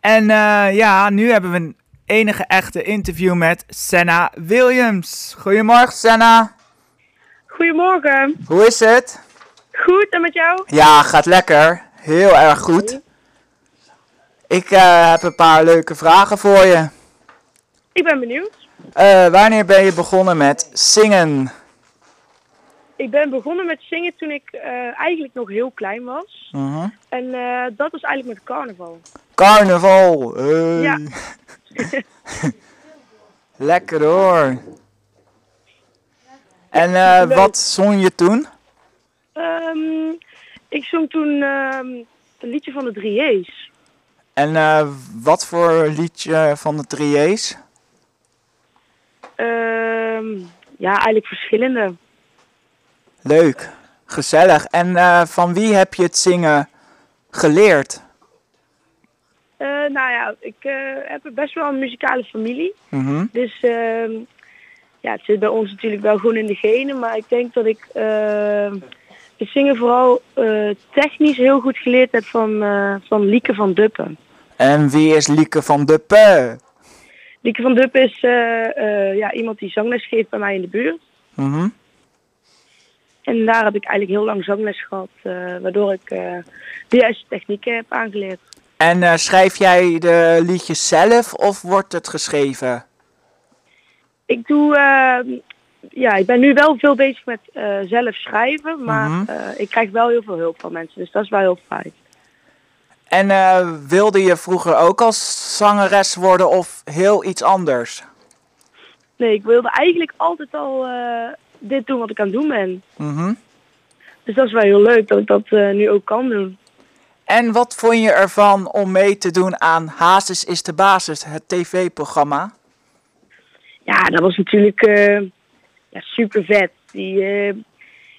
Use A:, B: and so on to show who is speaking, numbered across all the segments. A: En eh, ja, nu hebben we een enige echte interview met Senna Williams. Goedemorgen Senna.
B: Goedemorgen.
A: Hoe is het?
B: Goed, en met jou?
A: Ja, gaat lekker. Heel erg goed. Ik eh, heb een paar leuke vragen voor je.
B: Ik ben benieuwd.
A: Eh, wanneer ben je begonnen met zingen?
B: Ik ben begonnen met zingen toen ik eh, eigenlijk nog heel klein was.
A: Mhm.
B: En eh, dat was eigenlijk met carnaval.
A: Carnaval. hey.
B: Ja.
A: lekker hoor. En eh,
B: Leuk.
A: wat zong je toen?
B: Ehm, ik zong toen ehm een liedje van de Drieërs.
A: En eh, wat voor liedje van de Trie's?
B: Ehm ja, eigenlijk verschillende.
A: Leuk, gezellig. En eh, van wie heb je het zingen geleerd?
B: Eh, nou ja, ik eh, heb best wel een muzikale familie.
A: Mhm.
B: Dus ehm, ja, het zit bij ons natuurlijk wel gewoon in de genen. Maar ik denk dat ik ehm, het zingen vooral eh, technisch heel goed geleerd heb van, eh, van Lieke van Duppen.
A: En wie is Lieke van Duppe?
B: Lieke van Duppen is eh, eh, ja, iemand die zangles geeft bij mij in de buurt.
A: Mhm.
B: En daar heb ik eigenlijk heel lang zangles gehad. eh, waardoor ik eh, de juiste technieken heb aangeleerd.
A: En eh, schrijf jij de liedjes zelf of wordt het geschreven?
B: Ik doe... ehm, ja, ik ben nu wel veel bezig met eh, zelf schrijven, maar
A: Mhm.
B: eh, ik krijg wel heel veel hulp van mensen. Dus dat is wel heel fijn.
A: En eh, wilde je vroeger ook als zangeres worden of heel iets anders?
B: Nee, ik wilde eigenlijk altijd al eh, dit doen wat ik aan het doen ben.
A: Mhm.
B: Dus dat is wel heel leuk dat ik dat eh, nu ook kan doen.
A: En wat vond je ervan om mee te doen aan Hazes is de Basis, het tv-programma?
B: Ja, dat was natuurlijk eh, ja, super vet. Die, eh,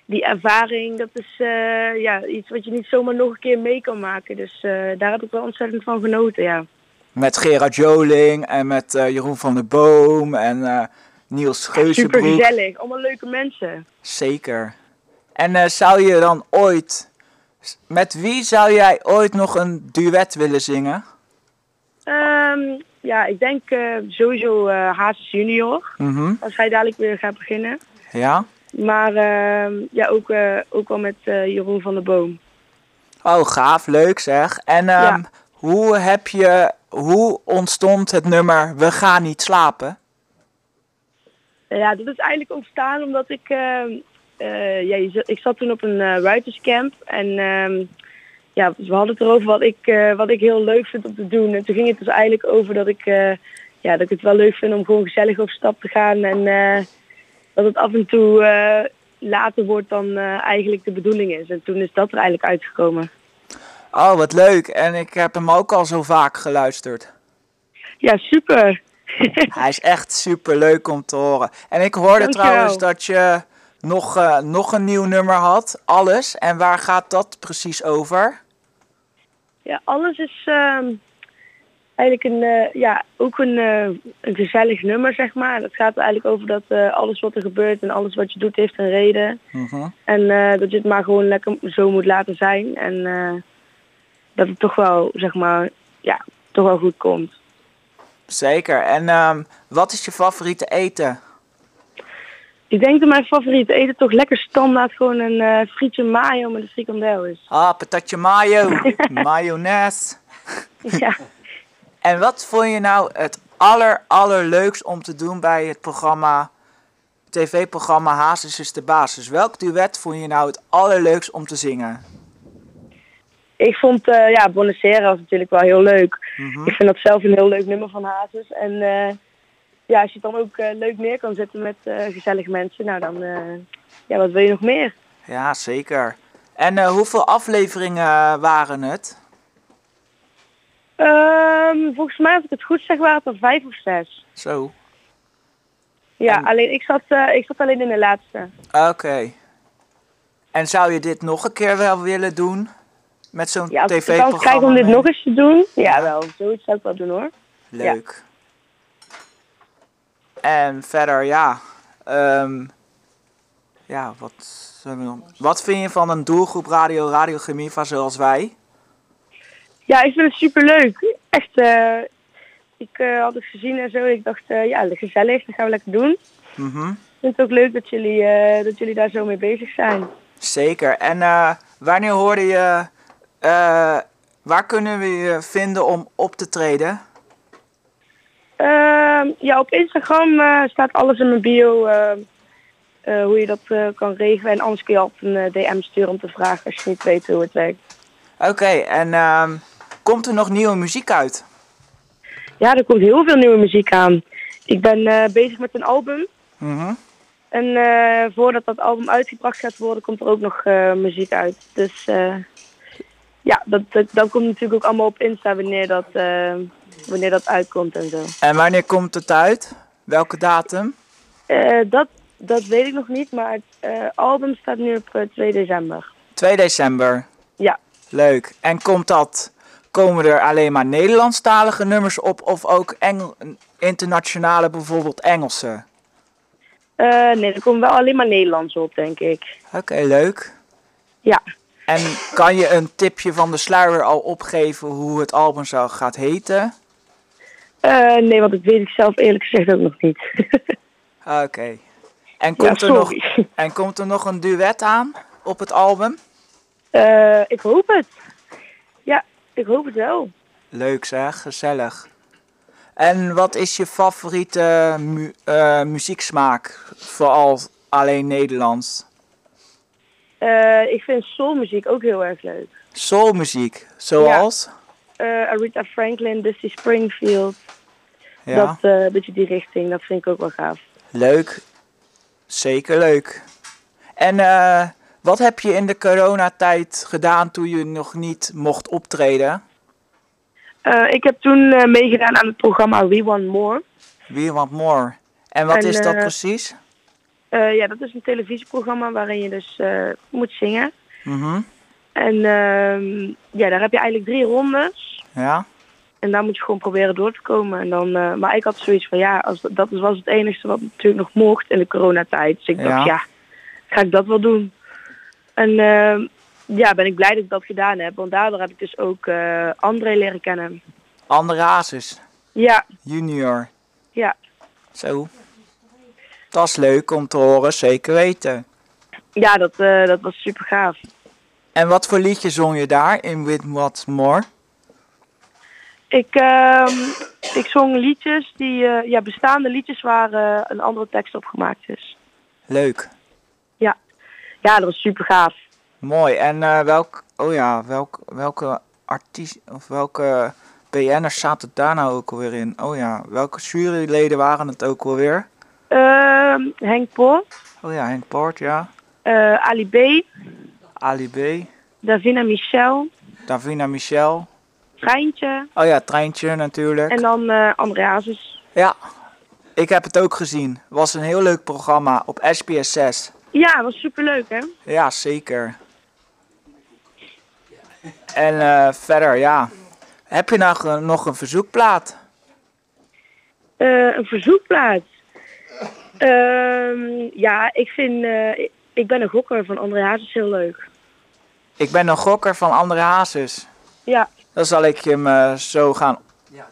B: die ervaring, dat is eh, ja, iets wat je niet zomaar nog een keer mee kan maken. Dus eh, daar heb ik wel ontzettend van genoten, ja.
A: Met Gerard Joling en met eh, Jeroen van der Boom en eh, Niels
B: Super
A: Geuzenbroek.
B: gezellig, allemaal leuke mensen.
A: Zeker. En eh, zou je dan ooit... s- Met wie zou jij ooit nog een duet willen zingen?
B: Ehm, ja, ik denk eh, sowieso eh Hazes junior,
A: Mhm.
B: als hij dadelijk weer gaat beginnen.
A: Ja?
B: Maar ehm, ja, ook, eh, ook wel met eh, Jeroen van der Boom.
A: Oh, gaaf. Leuk zeg. En
B: Ja.
A: ehm, hoe heb je... Hoe ontstond het nummer We gaan niet slapen?
B: Ja, dat is eigenlijk ontstaan omdat ik... ehm, eh, ja, je zat- ik zat toen op een eh, writerscamp en ehm, ja, we hadden het erover wat ik, eh, wat ik heel leuk vind om te doen. En toen ging het dus eigenlijk over dat ik, eh, ja, dat ik het wel leuk vind om gewoon gezellig op stap te gaan. En eh, dat het af en toe eh, later wordt dan eh, eigenlijk de bedoeling is. En toen is dat er eigenlijk uitgekomen.
A: Oh, wat leuk. En ik heb hem ook al zo vaak geluisterd.
B: Ja, super.
A: Hij is echt super leuk om te horen. En ik hoorde
B: Dankjewel.
A: trouwens dat je nog, eh, nog een nieuw nummer had. Alles. En waar gaat dat precies over?
B: Ja, alles is ehm, eigenlijk een, eh, ja, ook een, eh, een gezellig nummer, zeg maar. Het gaat eigenlijk over dat eh, alles wat er gebeurt en alles wat je doet heeft een reden.
A: Mhm.
B: En eh, dat je het maar gewoon lekker zo moet laten zijn. En eh, dat het toch wel, zeg maar, ja, toch wel goed komt.
A: Zeker. En ehm, wat is je favoriete eten?
B: Ik denk dat mijn favoriete eten toch lekker standaard gewoon een eh, frietje mayo met een frikandel is.
A: Ah, patatje mayo, mayonaise.
B: ja.
A: En wat vond je nou het aller, allerleukst om te doen bij het programma, tv-programma Hazes is de Basis? Welk duet vond je nou het allerleukst om te zingen?
B: Ik vond eh ja, Bonacera was natuurlijk wel heel leuk.
A: Mhm.
B: Ik vind dat zelf een heel leuk nummer van Hazes. En eh, ja, als je het dan ook eh, leuk neer kan zetten met eh gezellige mensen, nou dan, eh, ja, wat wil je nog meer?
A: Ja, zeker. En eh, hoeveel afleveringen eh, waren het?
B: Ehm, volgens mij, als ik het goed zeg, waren het er vijf of zes.
A: Zo.
B: Ja,
A: En-
B: alleen ik zat, eh, ik zat alleen in de laatste.
A: Oké. En zou je dit nog een keer wel willen doen? Met zo'n
B: Ja, als ik de
A: tv-programma?
B: kans krijg om dit
A: mee?
B: nog eens te doen, ja wel, zoiets zou ik wel doen hoor. Ja.
A: Leuk. En verder, ja. ehm, ja, wat, zullen we nog- wat vind je van een doelgroep radio, radiochemie van zoals wij?
B: Ja, ik vind het superleuk. Echt, eh, ik eh, had het gezien en zo. Ik dacht, eh, ja, gezellig, dat gaan we lekker doen.
A: Mhm.
B: Ik vind het ook leuk dat jullie, eh, dat jullie daar zo mee bezig zijn.
A: Zeker. En eh, wanneer hoorde je... eh, waar kunnen we je vinden om op te treden?
B: Ehm, ja, op Instagram eh, staat alles in mijn bio. eh, eh, hoe je dat eh, kan regelen. En anders kun je altijd een eh, DM sturen om te vragen als je niet weet hoe het werkt.
A: Oké, en ehm, komt er nog nieuwe muziek uit?
B: Ja, er komt heel veel nieuwe muziek aan. Ik ben eh, bezig met een album.
A: Mhm.
B: En eh, voordat dat album uitgebracht gaat worden, komt er ook nog eh, muziek uit. Dus eh, ja, dat, dat, dat komt natuurlijk ook allemaal op Insta wanneer dat, eh, wanneer dat uitkomt en zo.
A: En wanneer komt het uit? Welke datum?
B: Eh, dat, dat weet ik nog niet, maar het eh, album staat nu op eh, 2 december.
A: 2 december.
B: Ja,
A: Leuk. En komt dat, komen er alleen maar Nederlandstalige nummers op of ook Engel, internationale, bijvoorbeeld Engelse?
B: Eh, nee, er komt wel alleen maar Nederlands op, denk ik.
A: Oké, leuk.
B: Ja,
A: En kan je een tipje van de sluier al opgeven hoe het album zo gaat heten?
B: Eh, nee, want dat weet ik zelf eerlijk gezegd ook nog niet.
A: Oké. En, komt er nog-
B: sorry.
A: en komt er nog een duet aan op het album?
B: Eh, ik hoop het. Ja, ik hoop het wel.
A: Leuk zeg, gezellig. En wat is je favoriete mu- eh, muzieksmaak? Vooral alleen Nederlands.
B: Eh, ik vind soulmuziek ook heel erg leuk.
A: Soulmuziek, zoals?
B: eh Aretha Franklin, Dusty Springfield.
A: Ja,
B: Dat, eh, een beetje die richting, dat vind ik ook wel gaaf.
A: leuk. Zeker leuk. En eh, wat heb je in de coronatijd gedaan toen je nog niet mocht optreden?
B: Eh, ik heb toen eh, meegedaan aan het programma We Want More.
A: Wie want more? En wat
B: En,
A: is dat
B: eh,
A: precies?
B: Eh, ja, dat is een televisieprogramma waarin je dus eh, moet zingen.
A: Mhm,
B: En ehm, ja, daar heb je eigenlijk drie rondes.
A: Ja,
B: En daar moet je gewoon proberen door te komen. En dan, eh, maar ik had zoiets van, ja, als, dat was het enige wat natuurlijk nog mocht in de coronatijd. Dus ik
A: Ja.
B: dacht, ja, ga ik dat wel doen. En ehm, ja, ben ik blij dat ik dat gedaan heb. Want daardoor heb ik dus ook eh, André leren kennen.
A: André Hazes,
B: Ja,
A: junior.
B: ja,
A: Zo. Dat is leuk om te horen, zeker weten.
B: ja dat, eh, dat was super gaaf.
A: En wat voor liedje zong je daar in With What More?
B: Ik, ehm, ik zong liedjes die eh, ja, bestaande liedjes waar eh, een andere tekst op gemaakt is.
A: Leuk,
B: Ja, ja dat was super gaaf.
A: mooi. En eh, welk, oh ja, welk, welke artiest of welke BN'ers zaten daar nou ook alweer in? Oh ja, welke juryleden waren het ook alweer?
B: Ehm, Henk Poor,
A: Oh ja, Henk Poort, ja.
B: eh, Ali B,
A: Ali B,
B: Davina Michel,
A: Davina Michel.
B: Treintje
A: Oh ja, Treintje natuurlijk.
B: en dan eh André Hazes.
A: Ja, ik heb het ook gezien. Was een heel leuk programma op SBS 6.
B: Ja, dat was superleuk hè?
A: Ja, zeker. En eh, verder, ja. Heb je nou ge- nog een verzoekplaat?
B: Eh, een verzoekplaats. Ehm, ja, ik vind, eh, ik- ik ben een gokker van André Hazes heel leuk.
A: Ik ben een gokker van André Hazes.
B: Ja,
A: Dan zal ik hem eh, zo gaan... Ja,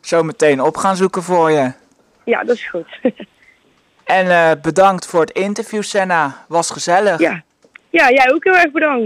A: Zo meteen op gaan zoeken voor je.
B: ja dat is goed.
A: En eh, bedankt voor het interview, Senna. Was gezellig.
B: ja. ja, jij ook heel erg bedankt.